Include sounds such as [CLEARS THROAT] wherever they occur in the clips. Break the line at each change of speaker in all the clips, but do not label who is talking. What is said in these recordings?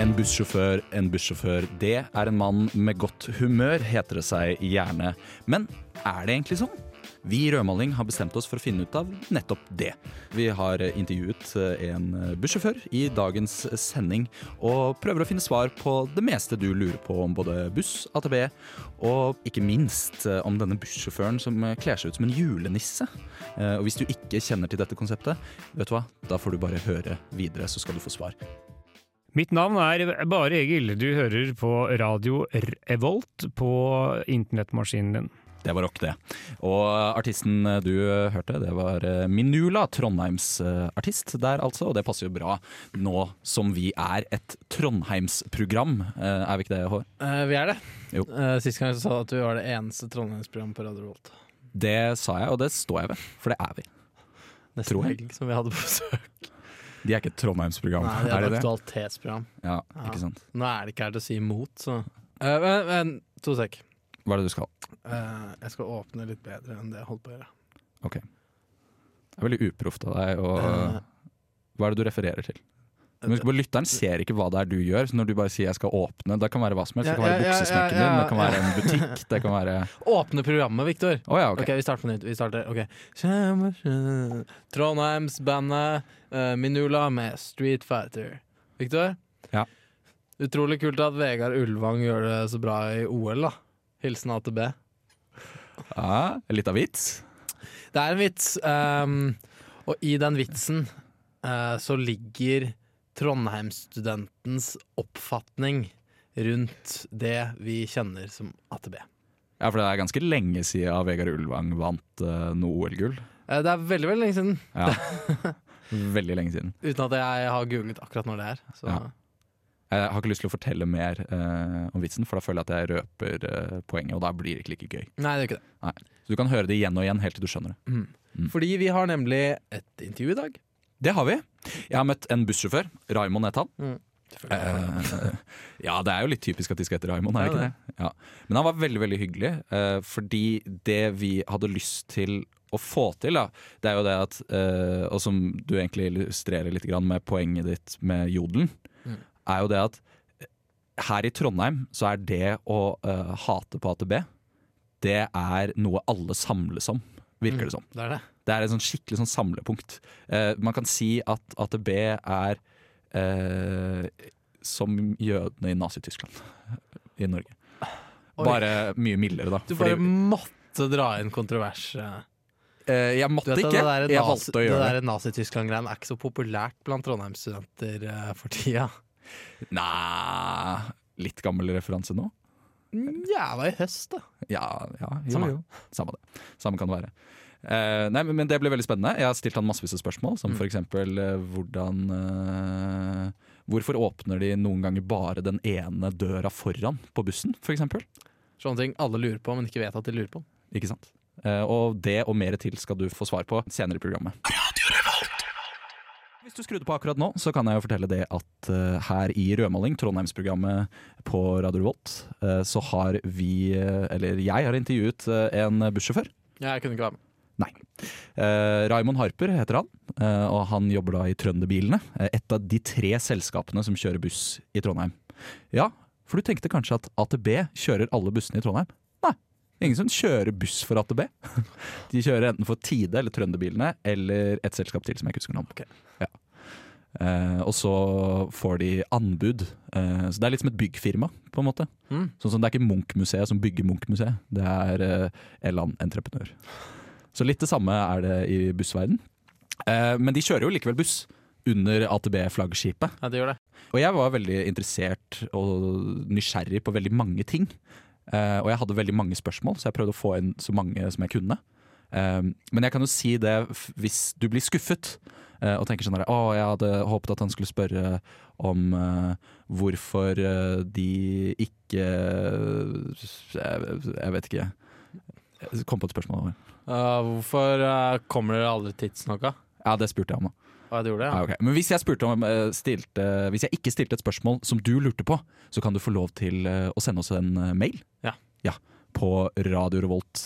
En bussjåfør, en bussjåfør, det er en mann med godt humør, heter det seg gjerne. Men er det egentlig sånn? Vi i Rødmaling har bestemt oss for å finne ut av nettopp det. Vi har intervjuet eh, en bussjåfør i dagens sending, og prøver å finne svar på det meste du lurer på om både buss, AtB, og ikke minst eh, om denne bussjåføren som eh, kler seg ut som en julenisse. Eh, Og hvis du ikke kjenner til dette konseptet, vet du hva, da får du bare høre videre, så skal du få svar.
Mitt navn er Bare Egil. Du hører på radio Revolt på internettmaskinen din.
Det var rock, det. Og artisten du hørte, det var eh, Minula, Trondheims eh, artist der altså. Og det passer jo bra nå som vi er et Trondheimsprogram, eh, er vi ikke det, Hår?
Eh, vi er det.
Jo.
Eh, sist gang så sa du at vi var det eneste Trondheimsprogrammet på Radio Volt.
Det sa jeg, og det står jeg ved, for det er vi.
Nesten
Tror jeg.
helg som vi hadde på besøk.
De er ikke et Trondheimsprogram,
Nei, det er
er de
et
det?
aktualitetsprogram.
Ja,
Ja.
ikke sant.
Nå er det ikke her til å si imot, så Eh, men, men, To sek.
Hva er det du skal?
Eh, jeg skal åpne litt bedre enn det jeg holdt på å gjøre.
Det er veldig uproft av deg, og
Eh,
hva er det du refererer til? Men husk på, Lytteren ser ikke hva det er du gjør, så når du bare sier 'jeg skal åpne', det kan være hva som helst. Det kan
Ja,
være
ja, ja,
buksesmekken
ja,
din,
ja,
det kan være en butikk, det kan være
[LAUGHS] åpne programmet, Victor!
Å ja,
Ok,
ok.
vi starter på nytt. Vi starter, ok Kjem- kjem- Trondheimsbandet eh, Minula med Street Fighter. Victor?
Ja.
Utrolig kult at Vegard Ulvang gjør det så bra i OL, da. Hilsen AtB.
Ja, litt av Ah, vits?
Det er en vits, ehm, og i den vitsen eh, så ligger Trondheimsstudentens oppfatning rundt det vi kjenner som AtB.
Ja, for det er ganske lenge siden Vegard Ulvang vant eh, noe OL-gull.
Eh, Det er veldig, veldig lenge siden,
Ja. Veldig lenge siden.
uten at jeg har googlet akkurat når det er. Så.
Ja. Jeg har ikke lyst til å fortelle mer eh, om vitsen, for da føler jeg at jeg røper eh, poenget, og da blir det ikke like gøy.
Nei, det er jo ikke det.
Så du kan høre det igjen og igjen helt til du skjønner det. Mm.
Fordi vi har nemlig et intervju i dag.
Det har vi. Jeg har møtt en bussjåfør. Raymond het han. Eh, ja, det er jo litt typisk at de skal hete Raymond, er det
Ja,
ikke det? Ja. Men han var veldig, veldig hyggelig, eh, fordi det vi hadde lyst til å få til, da, det er jo det at eh, Og som du egentlig illustrerer litt grann med poenget ditt med jodelen,
Mm.
er jo det at eh, her i Trondheim så er det å eh, hate på AtB, det er noe alle samles om, virker det som.
Det er det.
Det er et sånn skikkelig sånn samlepunkt. Eh, man kan si at AtB er eh, som jødene i Nazi-Tyskland [LAUGHS] i Norge.
Oi.
Bare mye mildere, da.
Du bare
Fordi,
måtte dra inn kontrovers. eh.
eh, jeg
Du
måtte
vet at
ikke.
det der
Jeg
nazi-
valgte å gjøre det.
Det der Nazi-Tyskland-greien er ikke så populært blant Trondheim-studenter eh, for tida.
Nei Litt gammel referanse nå?
Ja, det var i høst, da.
Ja, ja jo,
Samme.
jo. Samme det. Samme kan det være. Eh, nei, men men det ble veldig spennende. Jeg har stilt han massevis av spørsmål, som
Mm.
for eksempel eh, hvordan eh, Hvorfor åpner de noen ganger bare den ene døra foran på bussen, for eksempel?
Sånne ting alle lurer på, men ikke vet at de lurer på.
Ikke sant? Eh, og det og mer til skal du få svar på senere i programmet. Hvis du skrudde på akkurat nå, så kan jeg jo fortelle det at eh, her i Rødmaling, Trondheimsprogrammet på Radio Revolt, eh, så har vi, eh, eller jeg har intervjuet eh, en bussjåfør.
Ja, jeg kunne ikke være med.
Eh, Raymond Harper heter han, eh, og han jobber da i Trønderbilene. eh, et av de tre selskapene som kjører buss i Trondheim. Ja, for du tenkte kanskje at AtB kjører alle bussene i Trondheim? Nei, ingen som kjører buss for AtB. [LAUGHS] De kjører enten for Tide eller Trønderbilene, eller et selskap til som jeg ikke husker navnet på. Ja. Eh, og så får de anbud. Eh, så det er litt som et byggfirma, på en måte.
Mm.
Sånn som Det er ikke Munch-museet som bygger Munch-museet, det er eh, en eller annen entreprenør. Så litt det samme er det i bussverden. Eh, men de kjører jo likevel buss under AtB-flaggskipet.
Ja, det gjør det.
Og jeg var veldig interessert og nysgjerrig på veldig mange ting. Eh, og jeg hadde veldig mange spørsmål, så jeg prøvde å få inn så mange som jeg kunne. Eh, men jeg kan jo si det f- hvis du blir skuffet eh, og tenker sånn her Å, jeg hadde håpet at han skulle spørre om eh, hvorfor eh, de ikke jeg, jeg vet ikke. Jeg kom på et spørsmål.
Eh, hvorfor eh, kommer dere aldri tidsnok? da?
Ja, det spurte jeg om. da.
Ja, det gjorde det,
Ja,
ja.
Ah, ok. Men hvis jeg, spurte om, eh, stilte, hvis jeg ikke stilte et spørsmål som du lurte på, så kan du få lov til eh, å sende oss en eh, mail.
Ja.
På Radio Revolt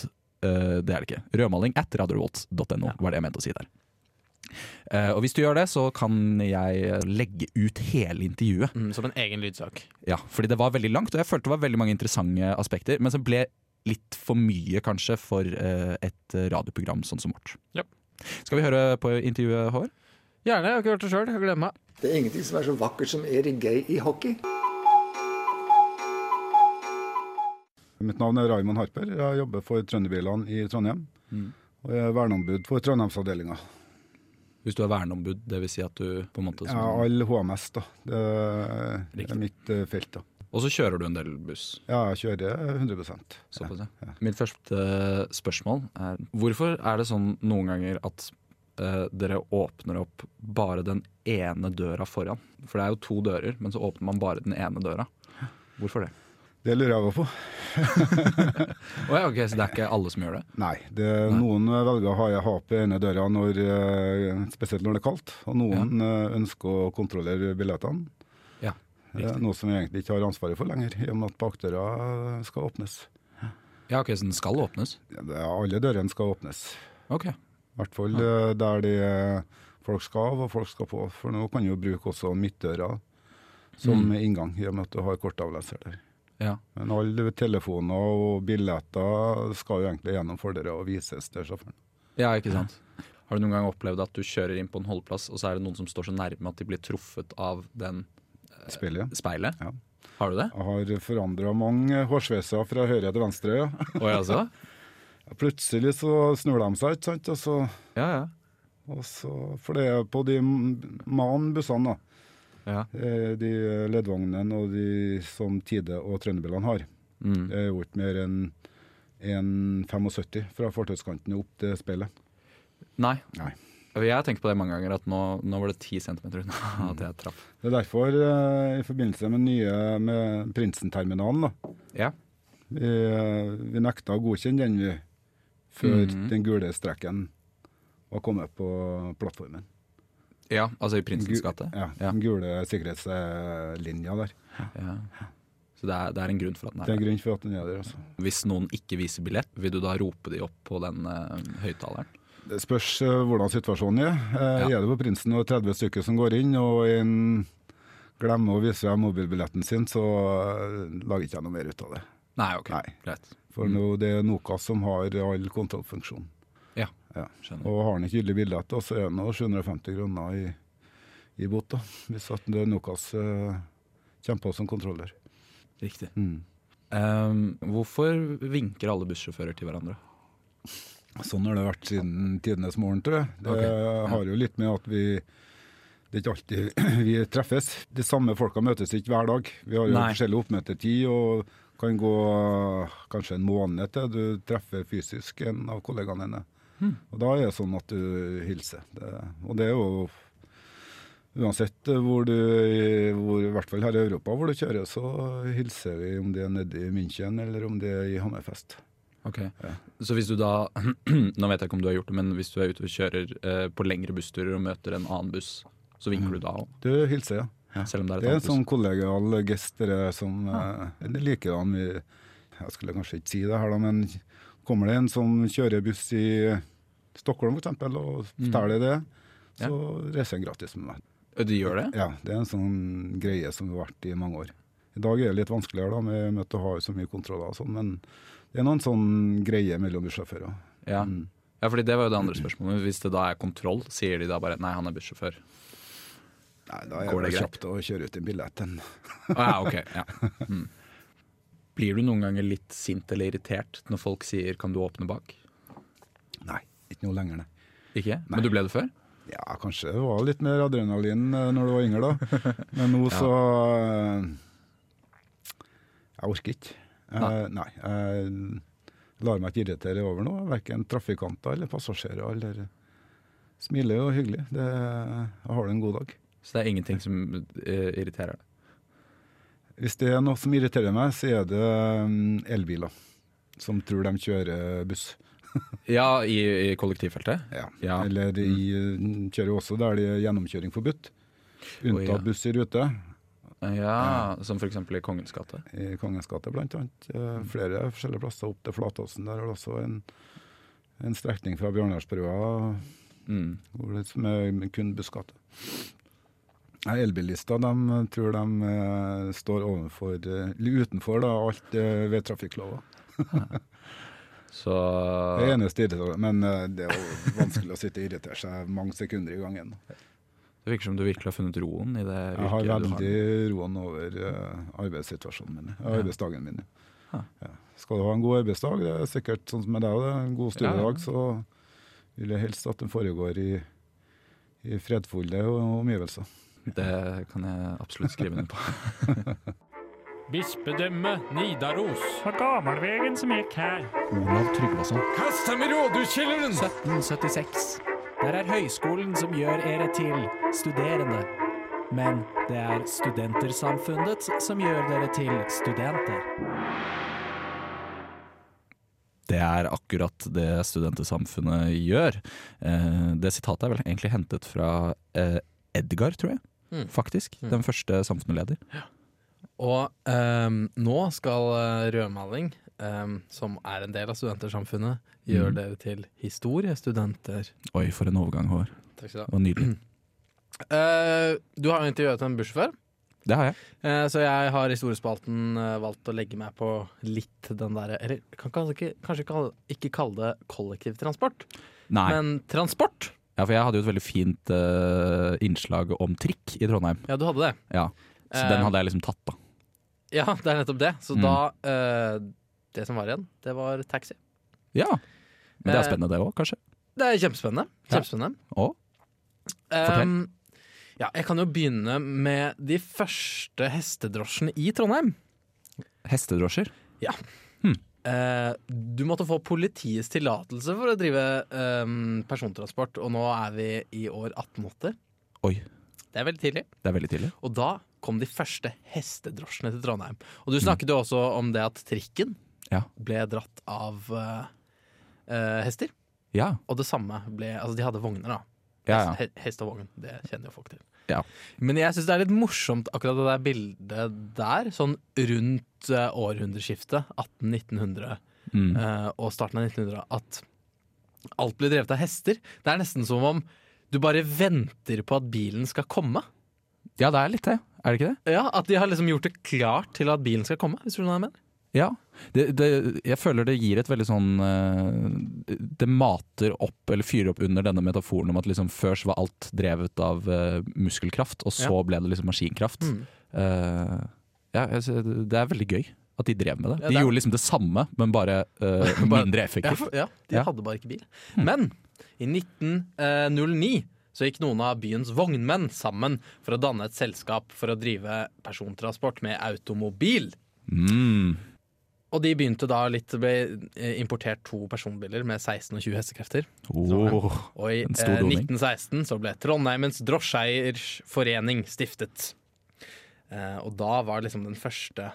eh, Det er det ikke. Rødmaling at radiorevolt.no var det jeg mente å si der. Eh, og hvis du gjør det, så kan jeg eh, legge ut hele intervjuet.
Mm, som en egen lydsak.
Ja, fordi det var veldig langt, og jeg følte det var veldig mange interessante aspekter. Men som ble litt for mye, kanskje, for eh, et radioprogram sånn som vårt.
Ja.
Skal vi høre på intervjuet, Håvard?
Gjerne. Jeg har ikke hørt det sjøl. Jeg gleder meg.
Det er ingenting som er så vakkert som Erik Gay i hockey.
Mitt navn er Raymond Harper. Jeg jobber for Trønderbilene i Trondheim.
Mm.
Og jeg er verneombud for Trondheimsavdelinga.
Hvis du er verneombud, dvs. Si at du på en måte
Ja, all HMS, da. Det er
Riktig.
mitt eh, felt, da.
Og så kjører du en del buss.
Ja, jeg kjører 100
Såpass, ja. Mitt første spørsmål er hvorfor er det sånn noen ganger at eh, dere åpner opp bare den ene døra foran? For det er jo to dører, men så åpner man bare den ene døra. Hvorfor det?
Det lurer jeg også på.
Å ja, ok, Så det er ikke alle som gjør det?
Nei, det, noen velger å ha ha opp ene døra, når, eh, spesielt når det er kaldt. Og noen eh, ønsker å kontrollere billettene.
Ja,
Det er Noe som jeg egentlig ikke har ansvaret for lenger, i og med at bakdøra eh, skal åpnes.
Ja, ok, Så den skal åpnes?
Ja, det er- Alle dørene skal åpnes.
Ok.
I hvert fall eh, der de, eh, folk skal av og folk skal på. For nå kan du jo bruke også midtdøra som inngang, i og med at du har kortavleser der.
Ja.
Men alle telefoner og billetter skal jo egentlig gjennom fordøra og vises til sjåføren.
ja, ikke sant. Har du noen gang opplevd at du kjører inn på en holdeplass, og så er det noen som står så nærme at de blir truffet av den
Spillet.
speilet?
Ja.
Har du det?
Jeg har forandra mange hårsveiser fra høyre til venstre. Ja.
Å ja, så?
Plutselig så snur de seg, ikke sant. Og så,
Ja, ja.
og så, for det er på de man-bussene, da.
Ja.
eh, De leddvognene og de som Tide og Trønderbilene har.
Mm.
Det er eh, jo ikke mer enn 1,75 fra fortauskanten og opp til speilet.
Nei.
Nei.
Jeg tenker på det mange ganger, at nå, nå var det ti centimeter unna [LAUGHS] at jeg traff.
Det er derfor, eh, i forbindelse med nye med Prinsenterminalen, da,
Ja.
vi, eh, vi nekta å godkjenne den vi, før den gule streken var kommet på plattformen.
ja, altså i Prinsens
Gu-
gate.
Ja,
Ja.
Den gule sikkerhetslinja der.
Ja. Så det er, det er en grunn for at den
Det er
er der.
grunn for at den er der. altså.
Hvis noen ikke viser billett, vil du da rope de opp på den eh, høyttaleren?
Det spørs eh, hvordan situasjonen er. Eh,
Ja.
Er det på Prinsen og 30 stykker som går inn, og en glemmer å vise frem mobilbilletten sin, så eh, lager ikke jeg noe mer ut av det.
Nei, ok. Mm.
Nei.
Greit.
For nå, det er NOKAS som har all kontrollfunksjon.
Ja,
Ja.
skjønner.
Og har han ikke gyldig billett, så er det nå 750 kroner i, i bot, da. Hvis at det er NOKAS eh, kommer på som kontroller.
Riktig.
Mm.
Ehm, hvorfor vinker alle bussjåfører til hverandre?
Sånn har det vært siden tidenes morgen, tror jeg. Det
Ok,
har jo litt med at vi det er ikke alltid [CLEARS THROAT] vi treffes. De samme folka møtes ikke hver dag. Vi har jo
Nei.
forskjellig oppmøtetid og kan gå kanskje en måned til du treffer fysisk en av kollegaene dine.
Hmm.
Og da er det sånn at du hilser. Det, og det er jo Uansett hvor du hvor, I hvert fall her i Europa hvor du kjører, så hilser vi om det er nede i München eller om det er i Hammerfest.
Ok, Så hvis du da [CLEARS THROAT] Nå vet jeg ikke om du har gjort det, men hvis du er ute og kjører eh, på lengre bussturer og møter en annen buss, så vinker du da òg?
Du hilser, Mm. ja.
Selv om det er Ah.
Det
et
er en
annet buss?
sånn kollegial gest det der som eh, det liker han. Vi- Jeg skulle kanskje ikke si det her, da, men kommer det en som kjører buss i Stockholm f.eks. og
Mm.
forteller det, så reiser han gratis med meg.
Ø, De gjør det?
Ja, Det er en sånn greie som har vært i mange år. I dag er det litt vanskeligere da, med med at du har så mye kontroller og sånn, men det er noen sånn greie mellom bussjåfører.
Ja. Mm. ja, fordi det var jo det andre spørsmålet. Hvis det da er kontroll, sier de da bare 'nei, han er bussjåfør'?
Nei, da
Går
er det
det greit?
kjapt å kjøre ut en billett. Den.
Å ja, ok. Ja. Mm. Blir du noen ganger litt sint eller irritert når folk sier 'kan du åpne bak'?
Nei, ikke noe lenger, nei.
Ikke? Men du ble det før?
Ja, kanskje det var litt mer adrenalin eh, når du var yngre, da.
[LAUGHS]
Men nå så eh, Jeg orker ikke. Eh, Nei. Jeg lar meg ikke irritere over noe, verken trafikanter eller passasjerer. Eller smiler jo hyggelig. Det, da har du en god dag.
Så det er ingenting som eh, irriterer deg?
Hvis det er noe som irriterer meg, så er det mm, elbiler som tror de kjører buss.
Ja, i, i kollektivfeltet?
Ja.
Ja. Mm.
Eller de mm, kjører jo også der det er gjennomkjøring forbudt. Unntatt
ja.
buss i rute.
Ja, Som f.eks. i Kongens gate?
i Kongens gate blant annet. Eh, Flere forskjellige plasser opp til Flatåsen. Der er det også en, en strekning fra Bjørnarsbrua
Mm.
Hvor det som er kun buskater. Nei, Elbilister de tror de eh, står overfor, eh, eller utenfor da, alt eh, ved trafikklova.
Så
Det eneste irriterer, men eh, det er jo vanskelig å sitte og irritere seg mange sekunder i gangen.
det virker som du virkelig har funnet roen i det
Jeg har
yrket du har.
veldig roen over eh, arbeidssituasjonen min, eh, arbeidsdagen min.
Ja.
Ja. Skal du ha en god arbeidsdag, det er sikkert sånn som med deg, det er en god
Ja, ja.
studiedag, så vil jeg helst at den foregår i, i fredfulle omgivelser.
Det kan jeg absolutt skrive ned på.
Bispedømme Nidaros.
På gammelvegen som gikk her.
Olav Tryggvason.
Kast dem i rådhuskjelleren!
1776. Der er høyskolen som gjør dere til studerende. Men det er studentersamfunnet som gjør dere til studenter.
Det er akkurat det studentesamfunnet gjør. Eh, det sitatet er vel egentlig hentet fra eh, Edgar, tror jeg.
Mm.
Faktisk.
Mm.
Den første samfunnsleder.
Og ehm, nå skal eh, rødmaling, ehm, som er en del av studentersamfunnet, gjøre
Mhm.
dere til historiestudenter.
Oi, for en overgang, Håvard.
Takk skal du
Det
ha.
var nydelig.
Eh, du har jo intervjuet en bussjåfør,
Det har jeg.
eh, så jeg har i Storespalten eh, valgt å legge meg på litt den derre Eller kan kanskje ikke, kanskje kalle, ikke kalle det kollektivtransport,
Nei.
men transport.
Ja, for jeg hadde jo et veldig fint eh, innslag om trikk i Trondheim.
Ja, du hadde det.
Ja. Så
Eh,
den hadde jeg liksom tatt, da.
Ja, det er nettopp det. Så
Mm.
da eh, Det som var igjen, det var taxi.
Ja. Men det
eh,
er spennende, det òg, kanskje.
Det er kjempespennende.
Ja.
kjempespennende.
Å? Fortell.
Ehm, ja, jeg kan jo begynne med de første hestedrosjene i Trondheim.
Hestedrosjer.
Eh, du måtte få politiets tillatelse for å drive ehm, persontransport, og nå er vi i år 1880.
Oi.
Det er veldig tidlig.
Det er veldig tidlig.
Og da kom de første hestedrosjene til Trondheim. Og du snakket jo også om det at trikken
Mm. Ja.
ble dratt av eh, eh, hester.
Ja,
Og det samme ble Altså, de hadde vogner, da.
ja, ja.
He- Hest og vogn, det kjenner jo folk til.
Ja.
Men jeg syns det er litt morsomt akkurat det der bildet der, sånn rundt eh, århundreskiftet, 1800-1900
Mm.
eh, og starten av 1900, at alt blir drevet av hester. Det er nesten som om du bare venter på at bilen skal komme.
ja, det er litt det. Er det ikke det?
Ja, At de har liksom gjort det klart til at bilen skal komme, hvis du skjønner hva jeg mener.
Ja. Det, det, jeg føler det gir et veldig sånn eh, Det mater opp, eller fyrer opp under denne metaforen om at liksom før så var alt drevet av eh, muskelkraft, og så ble det liksom maskinkraft.
Mm.
Eh, ja, jeg sy- det er veldig gøy at de drev med det.
Ja,
de
det er-
gjorde liksom det samme, men [LAUGHS] bare eh,
Bare-
mindre
Ja,
effektivt.
for, ja, de
Ja. Mm.
hadde bare ikke bil. Men i 1909 så gikk noen av byens vognmenn sammen for å danne et selskap for å drive persontransport med automobil.
Mm.
Og de begynte da litt Det ble eh, importert to personbiler med 16 og 20 hestekrefter.
Oh.
Og i eh,
En stor doning.
1916 så ble Trondheimens drosjeeiers forening stiftet. Eh, og da var liksom den første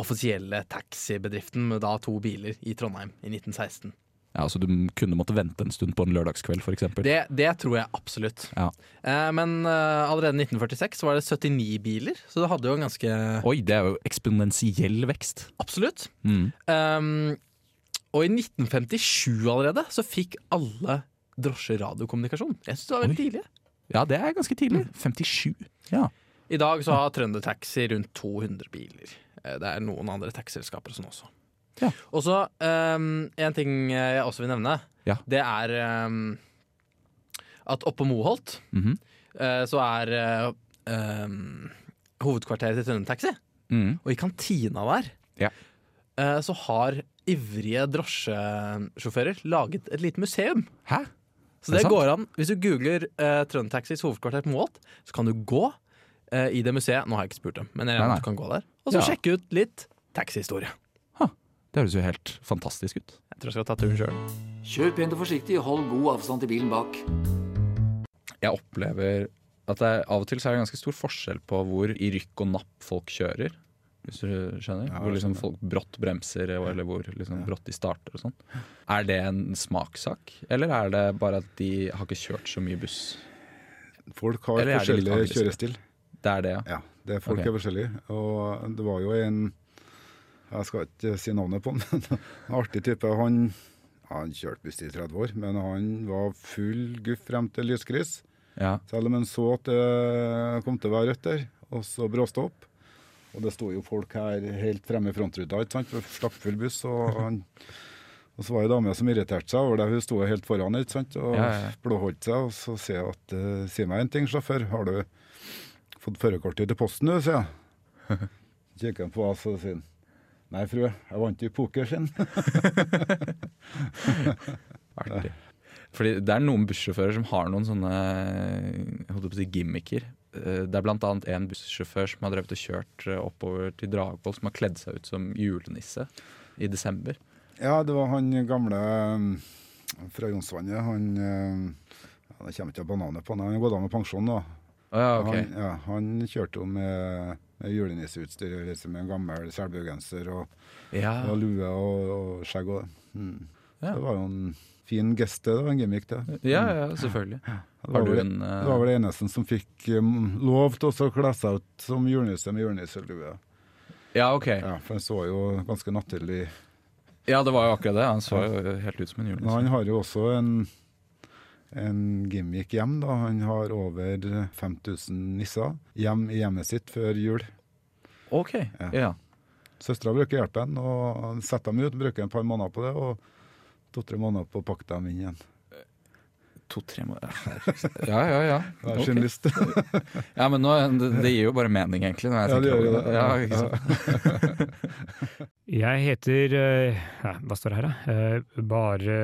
offisielle taxibedriften med da to biler i Trondheim i 1916.
Ja, så du kunne måtte vente en stund på en lørdagskveld, f.eks.
Det, det tror jeg absolutt.
Ja.
Eh, men eh, allerede i 1946 så var det 79 biler, så det hadde jo en ganske
Oi, det er jo eksponentiell vekst.
Absolutt.
Mm.
Um, og i 1957 allerede så fikk alle drosjer radiokommunikasjon. Jeg synes det var veldig tidlig.
Ja, det er ganske tidlig. 57. Ja.
I dag så har Trøndertaxi rundt 200 biler. Eh, Det er noen andre taxiselskaper og sånn også.
Ja.
Og så um, en ting jeg også vil nevne,
Ja.
det er um, at oppe på Moholt
Mhm.
eh, så er eh, um, hovedkvarteret til Trøndertaxi.
Mm.
Og i kantina der
Ja.
eh, så har ivrige drosjesjåfører laget et lite museum.
Hæ?
Så
Er det
det
sant?
går an, Hvis du googler eh, Trøndertaxis hovedkvarter på Moholt, så kan du gå eh, i det museet. Nå har jeg ikke spurt dem, men jeg
Nei,
regner
nei.
med at du kan gå der. Og så
Ja.
sjekke ut litt taxihistorie.
Det høres jo helt fantastisk ut.
Jeg tror jeg skal ta turen sjøl.
Kjør pent og forsiktig, hold god avstand til bilen bak.
Jeg opplever at det er, av og til så er det ganske stor forskjell på hvor i rykk og napp folk kjører. Hvis du skjønner?
Ja, jeg
hvor liksom
skjønner.
folk brått bremser, og- eller hvor liksom brått de starter og sånn. Er det en smakssak, eller er det bare at de har ikke kjørt så mye buss?
Folk har
Eller er de litt
forskjellig
aggressive?
kjørestil.
Det er det, ja.
Ja, det er folk
Ok.
er forskjellige. Og det [LAUGHS] var jo en Jeg skal ikke si navnet på han, men en artig type. Han, Han kjørte visst i 30 år, men han var full guff frem til lyskryss.
Ja.
Selv om han så at det kom til å være rødt der, og så bråstopp. Og det sto jo folk her helt fremme i frontruta, ikke sant? for Stappfull buss. Og, han, og så var det ei dame som irriterte seg over det, hun sto jo helt foran ikke sant? og
Ja, ja, ja.
blåholdt seg. Og så sier jeg at eh, si meg en ting, sjåfør, har du fått førerkortet til posten, du? sier jeg.
[LAUGHS]
Så kikker han på oss og sier han, nei, frue, jeg vant i poker sin.
Artig. Fordi det er noen bussjåfører som har noen sånne holdt jeg på å si, gimmicker. Eh, Det er blant annet en bussjåfør som har drevet og kjørt eh, oppover til Dragvoll, som har kledd seg ut som julenisse i desember.
Ja, det var han gamle eh, fra Jonsvannet. Han eh, ja, Det kommer ikke av bananer på han. Han har gått av med pensjon nå.
Å ja, ok.
Han, ja, han kjørte jo med, med julenisseutstyr, liksom med en gammel selbugenser og,
Ja.
og lue og, og skjegg og det. Mm.
Ja.
Det var jo en fin gest, det. det var En gimmick, det. Det
ja, ja, selvfølgelig.
var
Har du
vel-
en eh,
det var vel det eneste som fikk eh, lov til å kle seg ut som julenisse med julenisselue.
Ja, ok.
Ja, for han så jo ganske naturlig
Ja, det var jo akkurat det. Han så jo helt ut som en
Men
julenisse.
han har jo også en, en gimmick hjem. da. Han har over 5000 nisser hjem i hjemmet sitt før jul.
Ok,
Ja.
ja.
Søstera bruker hjelpen og han setter dem ut, bruker et par måneder på det. og To-tre måneder på å pakke dem inn igjen.
To-tre måneder Ja, ja, ja.
Det er
Ok.
sin lyst. [LAUGHS]
Ja, men nå, det, det gir jo bare mening, egentlig. Når jeg
Ja, det
tenker
gjør
over
jo det.
Ja, ikke sant?
Jeg heter eh, ja, Hva står det her, da? Eh, Bare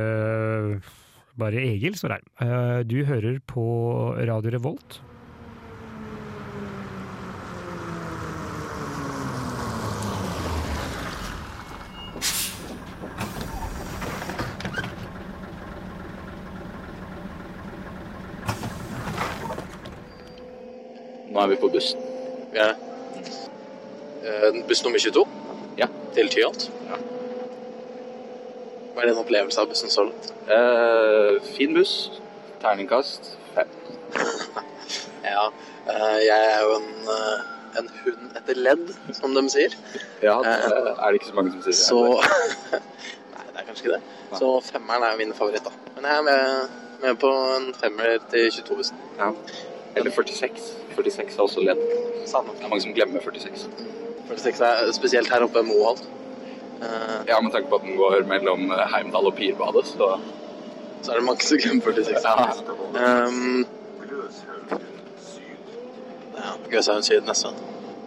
Bare Egil står det her. Eh, Du hører på Radio Revolt.
Nå er vi på bussen.
Vi er det. Eh, Buss nummer 22?
Ja.
Til Tyholt? Ja. Hva er din opplevelse av bussen så langt?
Eh, fin buss. Terningkast fem.
Ja, eh, jeg er jo en, eh, en hund etter ledd, som de sier.
Ja, det er det ikke så mange som sier.
Så [LAUGHS] Nei, det er kanskje ikke det. Så femmeren er min favoritt, da. Men jeg er med, med på en femmer til 22-bussen.
Eller 46. 46 er også ledd.
Samme.
Det er mange som glemmer 46.
46 er spesielt her oppe i Moholt. Eh,
Ja, med tanke på at den går mellom eh, Heimdal og Pirbadet, så
så er det mange som glemmer 46.
ja.
Um, ja, Gløshaugen Syd neste.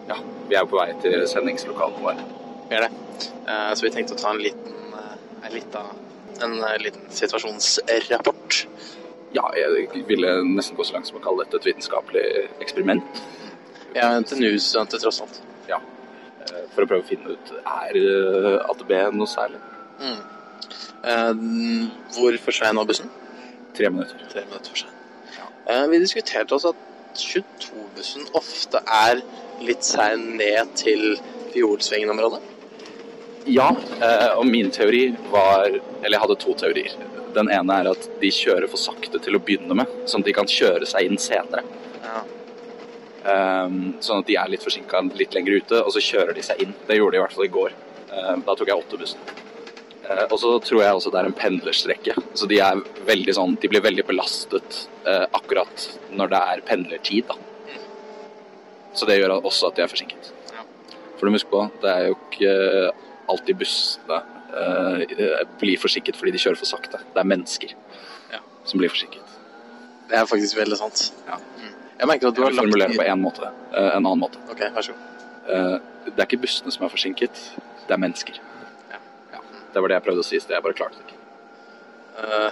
ja. Vi er jo på vei til sendingslokalene våre.
Vi gjør det. Eh, så vi tenkte å ta en liten, eh, en liten, en eh, liten situasjonsrapport.
Ja, jeg ville nesten gå så langt som å kalle dette et vitenskapelig eksperiment.
Vi er NTNU-studenter, tross alt.
eh, For å prøve å finne ut er eh, AtB noe særlig.
Mm. Eh, hvor forsvein var bussen?
Tre minutter.
Tre minutter for seg. Eh, vi diskuterte også at 22-bussen ofte er litt sein ned til Fjordsvingen-området.
Ja, eh, og min teori var Eller jeg hadde to teorier. Den ene er at de kjører for sakte til å begynne med, sånn at de kan kjøre seg inn senere.
Ja.
Ehm, sånn at de er litt forsinka litt lenger ute, og så kjører de seg inn. Det gjorde de i hvert fall i går. Ehm, da tok jeg åttebussen. Uh, og så tror jeg også det er en pendlerstrekke. Så de er veldig sånn De blir veldig belastet eh, akkurat når det er pendlertid, da. Så det gjør også at de er forsinket.
Mm. Ja.
For du må huske på, det er jo ikke alltid bussene eh, blir forsinket fordi de kjører for sakte. Det er mennesker
Ja.
som blir forsinket.
Det er faktisk veldig sant.
Ja.
Mm. Jeg merker
Du
at du har
kan
lagt
formulere på én måte. eh, en annen måte.
Ok, vær så god.
Eh, det er ikke bussene som er forsinket, det er mennesker.
Ja.
Ja, det var det jeg prøvde å si i sted, jeg bare klarte det ikke.
Eh,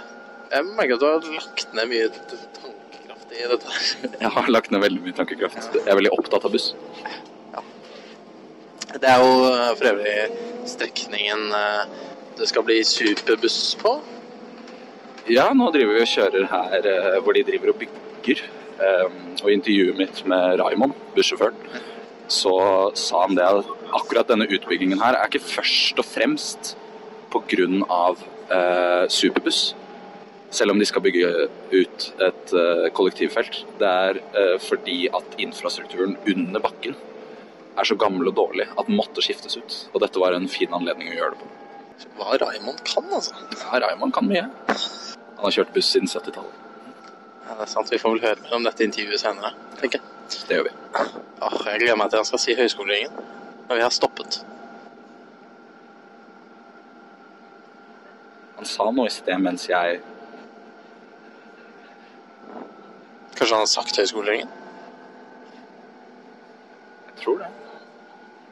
jeg merker at du har lagt ned mye t- tankekraft i dette her.
Jeg har lagt ned veldig mye tankekraft. Jeg er veldig opptatt av buss.
Det er jo eh, for øvrig strekningen eh, det skal bli superbuss på.
Ja, nå driver vi og kjører her eh, hvor de driver og bygger. Ehm, Og i intervjuet mitt med Raimond, bussjåføren, så sa han det at akkurat denne utbyggingen her er ikke først og fremst pga. Eh, superbuss. Selv om de skal bygge ut et eh, kollektivfelt. Det er eh, fordi at infrastrukturen under bakken er så gammel og dårlig at den måtte skiftes ut. Og dette var en fin anledning å gjøre det på.
hva Raymond kan, altså.
Ja, Raymond kan mye. Han har kjørt buss siden 70-tallet.
Ja, det er sant. Vi får vel høre mer om dette intervjuet senere, tenker jeg.
Det gjør vi.
Åh, jeg gleder meg til han skal si høyskoleringen. Når vi har stoppet.
Han sa noe i sted mens jeg
Kanskje han har sagt høyskoleringen?
Jeg tror det.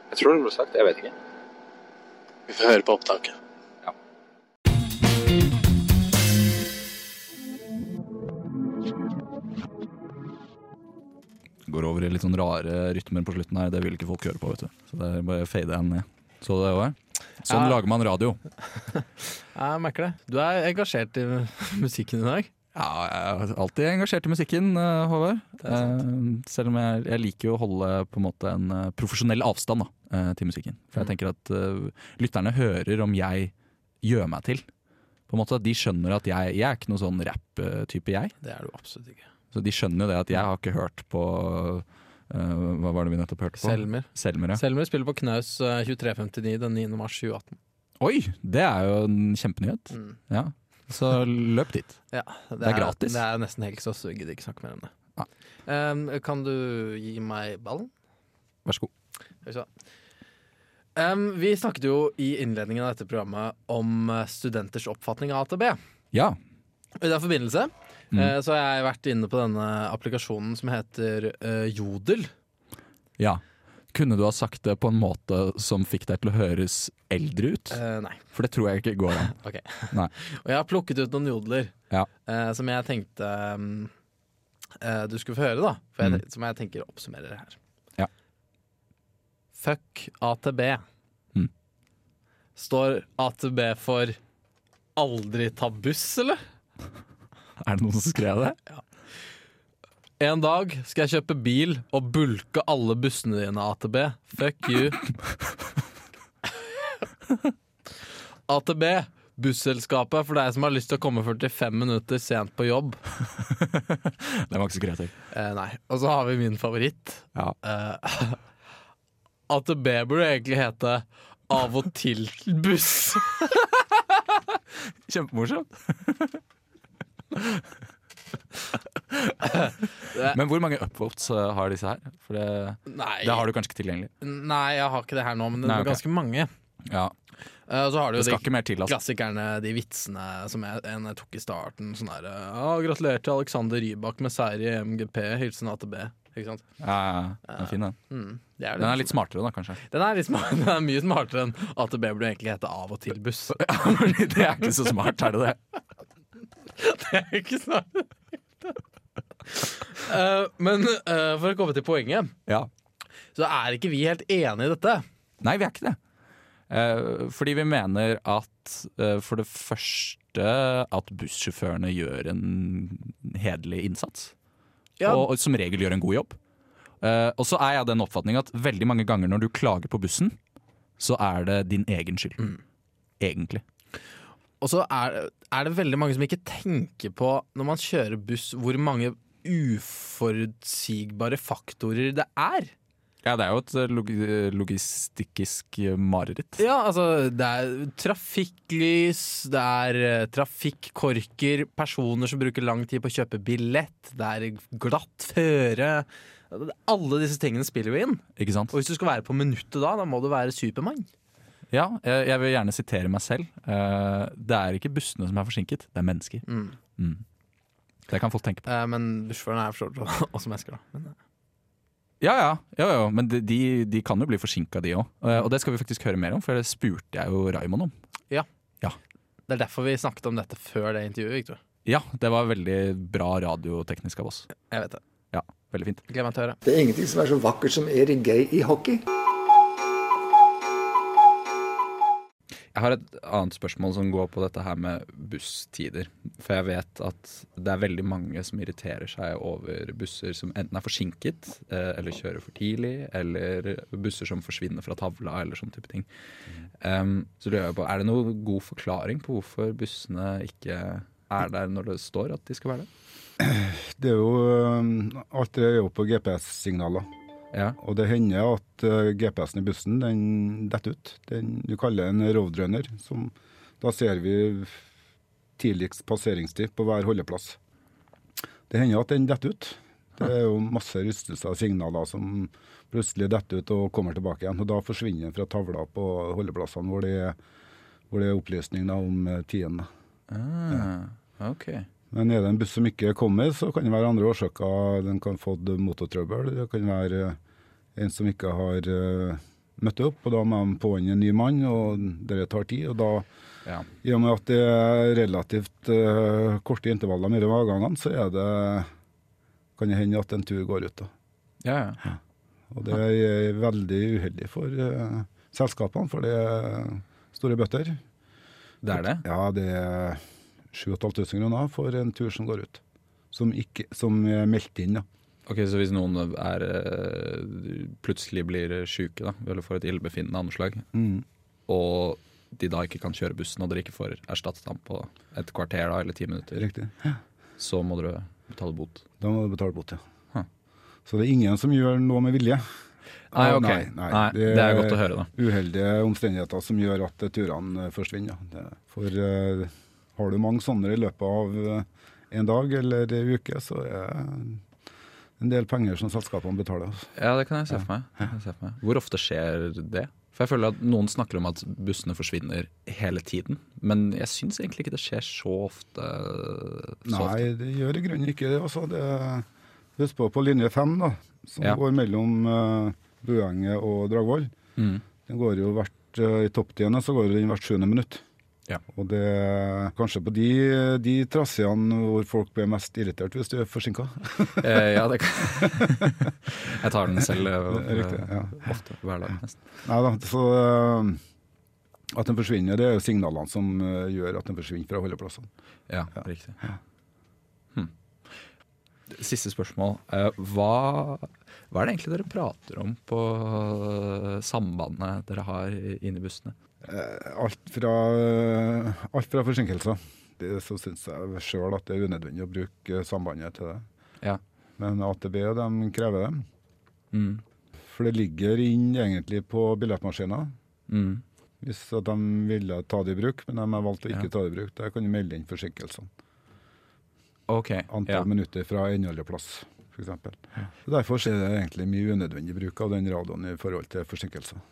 Jeg tror det ble sagt. Jeg vet ikke.
Vi får høre på opptaket.
Går over i litt sånn rare rytmer på slutten her. Det vil ikke folk høre på, vet du. Så det er bare fader jeg ned. Så det var Sånn
Ja.
lager man radio.
Jeg merker det. Du er engasjert i musikken i dag.
Ja, jeg er alltid engasjert i musikken, eh, Håvard.
er sant.
Eh, selv om jeg, jeg liker jo å holde på en måte en eh, profesjonell avstand da, eh, til musikken. For jeg tenker at eh, lytterne hører om jeg gjør meg til. På en måte at De skjønner at jeg, jeg er ikke noen sånn rapp-type, jeg.
Det er du absolutt ikke.
Så de skjønner jo det at jeg har ikke hørt på eh, Hva var det vi nettopp hørte på?
Selmer.
Selmer, ja.
Selmer spiller på Knaus eh, 2359 den 9. mars 2018.
Oi! Det er jo en kjempenyhet.
Mm.
Ja. Så løp dit.
Ja, det,
er gratis.
Det er nesten helg, så jeg gidder ikke snakke mer om det.
Nei.
Ehm, kan du gi meg ballen?
Vær så god.
Skal vi se. Ehm, vi snakket jo i innledningen av dette programmet om eh, studenters oppfatning av AtB.
Ja.
I den forbindelse
Mm.
eh, så har jeg vært inne på denne applikasjonen som heter eh, Jodel.
Ja. Kunne du ha sagt det på en måte som fikk deg til å høres eldre ut?
Eh, nei.
For det tror jeg ikke går an. [LAUGHS]
Og jeg har plukket ut noen jodler
Ja.
eh, som jeg tenkte mm, eh, du skulle få høre, da. For jeg, Som jeg tenker oppsummerer det her.
Mm. Ja.
Fuck AtB.
Mm.
Står AtB for aldri ta buss, eller?
Er det noen som skrev det?
En dag skal jeg kjøpe bil og bulke alle bussene dine, AtB. Fuck you. [LAUGHS] AtB, busselskapet for deg som har lyst til å komme 45 minutter sent på jobb.
Den var ikke så kreativ.
Eh, nei. Og så har vi min favoritt.
Ja.
Eh, AtB burde egentlig hete Av og til buss. [LAUGHS]
Kjempemorsomt. Men hvor mange upvotes eh, har disse her? For det,
Nei.
det har du kanskje ikke tilgjengelig.
nei, jeg har ikke det her nå, men det
Nei,
er
ok.
ganske mange.
Ja,
Eh, og så har du
Det
jo
skal
de
ikke mer til, altså.
klassikerne, de vitsene som jeg, en jeg tok i starten. Sånn der, eh, «Ah, Gratulerer til Alexander Rybak med seier i MGP. Hilsen AtB. Ikke sant?
Ja, ja, ja. den er fin, den.
Mm, det er det.
Den er litt smartere, da, kanskje. [LAUGHS]
den er litt smart, [LAUGHS] den er mye smartere enn AtB burde egentlig hete Av og til buss.
[LAUGHS] Fordi det er ikke så smart, er det det?
Det er ikke snart. [LAUGHS] Eh, men eh, for å komme til poenget,
Ja.
så er ikke vi helt enige i dette.
Nei, vi er ikke det. Eh, fordi vi mener at eh, for det første at bussjåførene gjør en hederlig innsats.
Ja.
Og, og som regel gjør en god jobb. Eh, og så er jeg av den oppfatning at veldig mange ganger når du klager på bussen, så er det din egen skyld.
Mm.
Egentlig.
Og så er, er det veldig mange som ikke tenker på, når man kjører buss, hvor mange uforutsigbare faktorer det er.
Ja, det er jo et eh, log logistikkisk eh, mareritt.
Ja, altså, det er trafikklys, det er eh, trafikkorker, personer som bruker lang tid på å kjøpe billett, det er glatt føre. Alle disse tingene spiller jo inn.
Ikke sant?
Og hvis du skal være på minuttet da, da må du være Supermann.
Ja, jeg, jeg vil gjerne sitere meg selv. Eh, det er ikke bussene som er forsinket, det er mennesker.
Mm.
Mm. Det kan folk tenke på.
Eh, men bussjåførene er for så vidt også mennesker, da. Men, eh,
Ja, ja. ja, ja. Men de, de, de kan jo bli forsinka, de òg. Og det skal vi faktisk høre mer om, for det spurte jeg jo Raymond om.
eh, det er derfor vi snakket om dette før det intervjuet, Victor.
Ja, det var veldig bra radioteknisk av oss.
Jeg vet det.
Ja, veldig fint.
Gleder meg til å høre.
Det er ingenting som er så vakkert som Erik Gay i hockey.
Jeg har et annet spørsmål som går på dette her med busstider. For jeg vet at det er veldig mange som irriterer seg over busser som enten er forsinket, eh, eller kjører for tidlig, eller busser som forsvinner fra tavla, eller sånn type ting. Um, så lurer jeg på, er det noen god forklaring på hvorfor bussene ikke er der når det står at de skal være der?
um, Det er jo, øhm, alt det er jo på GPS-signaler. Og det hender at eh, GPS-en i bussen den detter ut. Den du kaller en roadrunner. Som, da ser vi tidligst passeringstid på hver holdeplass. Det hender at den detter ut. Det er jo masse rystelser og signaler som plutselig detter ut og kommer tilbake igjen. Og da forsvinner den fra tavla på holdeplassene hvor det er, hvor det er opplysning da om eh, tiden. da.
Ah, ok.
Men er det en buss som ikke kommer, så kan det være andre årsaker. Den kan få motortrøbbel. Det kan være eh, en som ikke har eh, møtt opp, og da må de påinn en ny mann, og det tar tid. Og da,
Ja.
i og med at det er relativt eh, korte intervaller mellom avgangene, så er det, kan det hende at en tur går ut. Da.
Ja, ja.
Og det er veldig uheldig for eh, selskapene, for det er store bøtter.
Det er det?
Ja, det er 7500 kroner for en tur som går ut. Som, ikke, som er meldt inn, da.
Ok, Så hvis noen er, eh, plutselig blir sjuke da, eller får et illebefinnende anslag,
Mm.
og de da ikke kan kjøre bussen, og dere ikke får erstattet ham på et kvarter da, eller ti minutter,
Riktig.
så må dere betale bot.
Da må du betale bot, ja.
Huh.
Så det er ingen som gjør noe med vilje.
Nei,
Ah,
ok. Nei, det er godt å høre, da.
Uheldige omstendigheter som gjør at eh, turene eh, forsvinner. ja. Det- For eh, har du mange sånne i løpet av eh, en dag eller en uke, så er det en del penger som selskapene betaler. altså.
Ja, det kan jeg se for meg. Det kan jeg se for meg. Hvor ofte skjer det? For jeg føler at Noen snakker om at bussene forsvinner hele tiden, men jeg syns egentlig ikke det skjer så ofte. Så ofte.
Nei, det gjør i grunnen ikke det. Altså, det husk på på linje 5, da, som
Ja.
går mellom uh, Buenget og Dragvoll.
Mm.
Den går jo hvert, eh, I topptidene så går den hvert sjuende minutt.
Ja.
Og det er kanskje på de, de traseene hvor folk blir mest irritert hvis du
[LAUGHS]
er forsinka.
Eh, ja, det kan [LAUGHS] Jeg tar den selv eh,
Riktig, ja.
ofte. Hver dag, nesten.
Nei da, så eh, at den forsvinner, det er jo signalene som eh, gjør at den forsvinner fra holdeplassene.
Ja, riktig. Hm. Siste spørsmål. Eh, Hva, hva er det egentlig dere prater om på eh, sambandet dere har inni bussene?
alt fra, eh, alt fra forsinkelser. Det, så syns jeg sjøl at det er unødvendig å bruke eh, sambandet til det.
Ja.
Men AtB de krever dem.
Mm.
For det ligger inn egentlig på billettmaskiner.
Mm.
Hvis at de ville ta det i bruk, men de har valgt å ikke
Ja.
ta det i bruk. Der kan du melde inn forsinkelsene.
Ok.
Antall
Ja.
minutter fra endeholdeplass, f.eks. Derfor er det egentlig mye unødvendig bruk av den radioen i forhold til forsinkelser.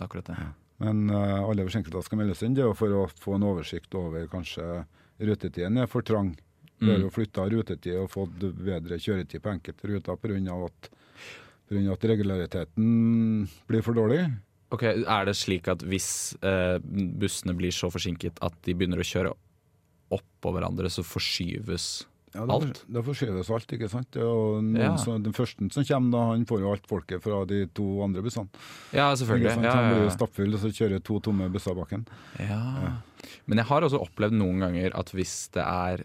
Akkurat det.
Men eh, alle forsinkelser skal meldes inn. Det er jo for å få en oversikt over kanskje rutetiden er for trang. Vi har
Mm.
jo flytta rutetid og fått bedre kjøretid på enkelte ruter pga. at, på grunn av at regulariteten blir for dårlig.
Ok, Er det slik at hvis eh, bussene blir så forsinket at de begynner å kjøre oppå hverandre, så forskyves
Ja, da,
alt?
da forskyves alt, ikke sant. Det er jo noen
Ja.
som, den første som kommer, da, han får jo alt folket fra de to andre bussene.
Ja,
Ikke
selvfølgelig.
sant?
Ja,
Han
ja,
blir
ja.
jo stappfull, og så kjører to tomme busser bak ham.
Ja. Men jeg har også opplevd noen ganger at hvis det er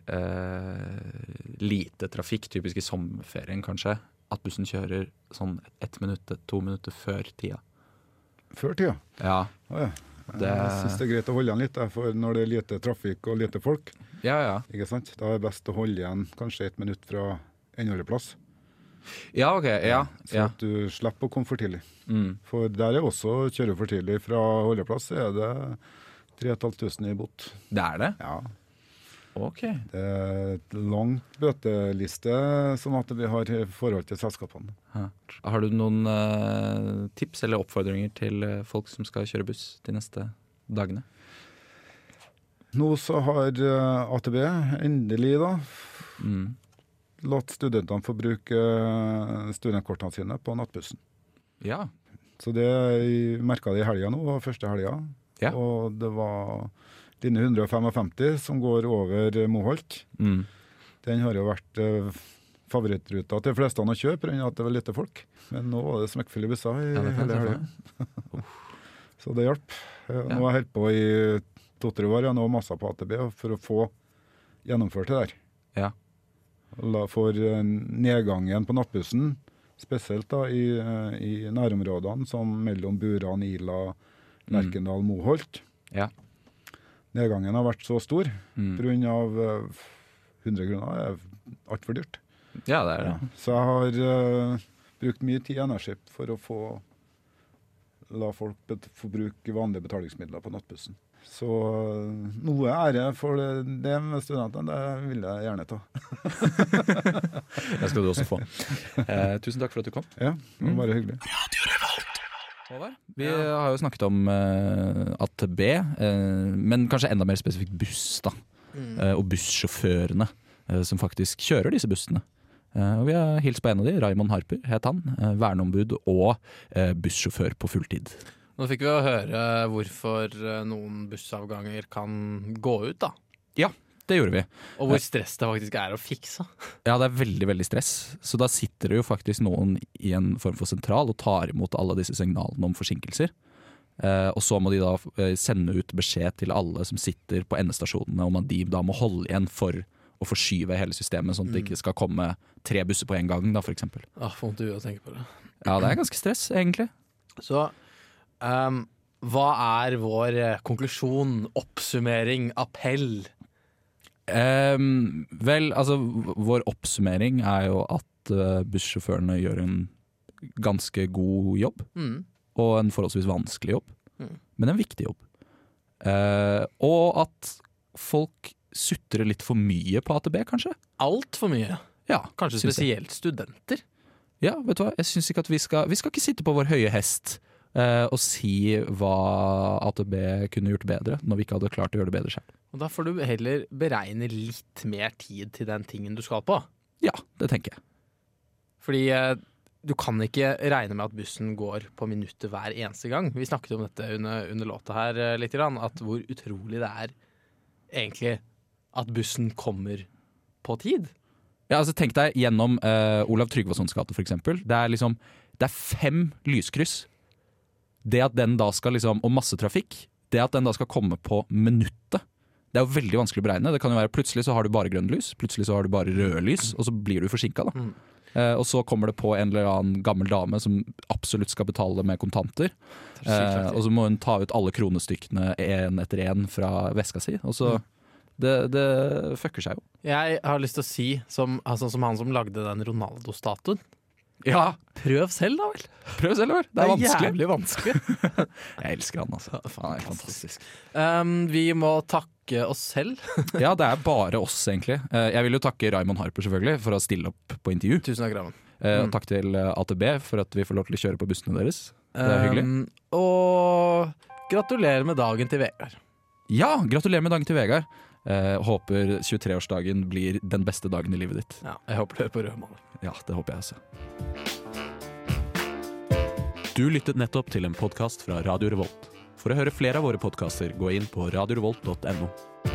eh, lite trafikk, typisk i sommerferien kanskje, at bussen kjører sånn ett minutt, to minutter før tida.
Før tida.
Ja,
Å, ja.
Det-
Jeg syns det er greit å holde igjen litt, jeg, for når det er lite trafikk og lite folk,
ja. ja.
Ikke sant? Da er det best å holde igjen kanskje et minutt fra endeholdeplass.
Ja, ok. Ja.
Så
ja.
at du slipper å komme for tidlig.
Mm.
For der er også kjøre for tidlig fra holdeplass, så er det 3500 i bot.
Det er det?
Ja,
Ok.
det er et langt bøteliste som at vi har i forhold til selskapene.
Ja. Har du noen eh, tips eller oppfordringer til eh, folk som skal kjøre buss de neste dagene?
Nå så har eh, AtB endelig da
Mm.
latt studentene få bruke eh, studentkortene sine på nattbussen.
Ja.
Så det jeg merka det i helga nå, var første helga.
Ja.
Og det var linje 155 som går over Moholt.
Mm.
Den har jo vært eh, favorittruta til fleste å kjøre pga. at det var lite folk. Men nå var det smekkfulle busser i
Ja, det kan jeg
hele
se for
helga. Så det hjalp. Eh,
Ja.
Nå har jeg holdt på i to-tre år ja, nå har jeg masa på AtB for å få gjennomført det der.
Ja.
La- For eh, nedgangen på nattbussen, spesielt da i, eh, i nærområdene som mellom Buran, Ila, Lerkendal, Moholt.
Mm. Ja.
Nedgangen har vært så stor
Mm.
pga. 100 eh, kroner er altfor dyrt.
ja, det er det.
Så jeg har eh, brukt mye tid og energi for å få la folk bet få bruke vanlige betalingsmidler på nattbussen. Så øh, noe ære for det det med studentene, det vil jeg gjerne ta.
Det skal du også få. Eh, tusen takk for at du kom.
Ja, det var bare hyggelig.
Håvard, vi har jo snakket om eh, AtB, eh, men kanskje enda mer spesifikt buss, da. Eh, og bussjåførene eh, som faktisk kjører disse bussene. Eh, og vi har hilst på en av de, Raymond Harper het han. Eh, verneombud og eh, bussjåfør på fulltid.
Nå fikk vi jo høre hvorfor eh, noen bussavganger kan gå ut, da.
Det gjorde vi.
Og hvor stress det faktisk er å fikse.
Ja, det er veldig veldig stress. Så da sitter det jo faktisk noen i en form for sentral og tar imot alle disse signalene om forsinkelser. Eh, og så må de da eh, sende ut beskjed til alle som sitter på endestasjonene om at de da må holde igjen for å forskyve hele systemet, sånn at det
Mm.
ikke skal komme tre busser på en gang, da, for eksempel.
Åh, Får vondt i huet av å tenke på det.
Ja, det er ganske stress, egentlig.
Så ehm, hva er vår eh, konklusjon, oppsummering, appell?
Ehm, vel, altså v- vår oppsummering er jo at eh, bussjåførene gjør en ganske god jobb.
Mm.
Og en forholdsvis vanskelig jobb,
Mm.
men en viktig jobb. Eh, og at folk sutrer litt for mye på AtB, kanskje.
Altfor mye.
Ja,
Kanskje
syns jeg.
spesielt studenter.
Ja, vet du hva? Jeg synes ikke at Vi skal Vi skal ikke sitte på vår høye hest eh, og si hva AtB kunne gjort bedre, når vi ikke hadde klart å gjøre det bedre selv.
Og da får du heller beregne litt mer tid til den tingen du skal på.
Ja, det tenker jeg.
Fordi eh, du kan ikke regne med at bussen går på minuttet hver eneste gang. Vi snakket om dette under, under låta her eh, litt, grann, at hvor utrolig det er egentlig at bussen kommer på tid.
Ja, altså Tenk deg gjennom eh, Olav Tryggvasons gate, for eksempel. Det er liksom Det er fem lyskryss. Det at den da skal liksom Og masse trafikk. Det at den da skal komme på minuttet. Det er jo veldig vanskelig å beregne. Det kan jo være Plutselig så har du bare grønne lys, plutselig så har du bare røde lys, og så blir du forsinka. da.
Mm.
Eh, og så kommer det på en eller annen gammel dame som absolutt skal betale med kontanter. Eh, og så må hun ta ut alle kronestykkene én etter én fra veska si. Og så det, det fucker seg jo.
Jeg har lyst til å si, som, altså, som han som lagde den Ronaldo-statuen
Ja,
Prøv selv, da vel!
Prøv selv, vel. Det er vanskelig.
jævlig vanskelig.
Jeg elsker han, altså. Han er fantastisk.
[LAUGHS] Um, vi må takke oss selv.
Ja, det er bare oss, egentlig. Eh, Jeg vil jo takke Raymond Harper selvfølgelig for å stille opp på intervju.
Tusen takk, Raven.
Eh, Og
Mm.
takk til eh, AtB for at vi får lov til å kjøre på bussene deres. Det er hyggelig.
Um, og gratulerer med dagen til Vegard.
Ja, gratulerer med dagen til Vegard. Eh, håper 23-årsdagen blir den beste dagen i livet ditt.
Ja, jeg håper du hører på Rødmaler.
Ja, det håper jeg også. Du lyttet nettopp til en podkast fra Radio Revolt. For å høre flere av våre podkaster, gå inn på radiorevolt.no.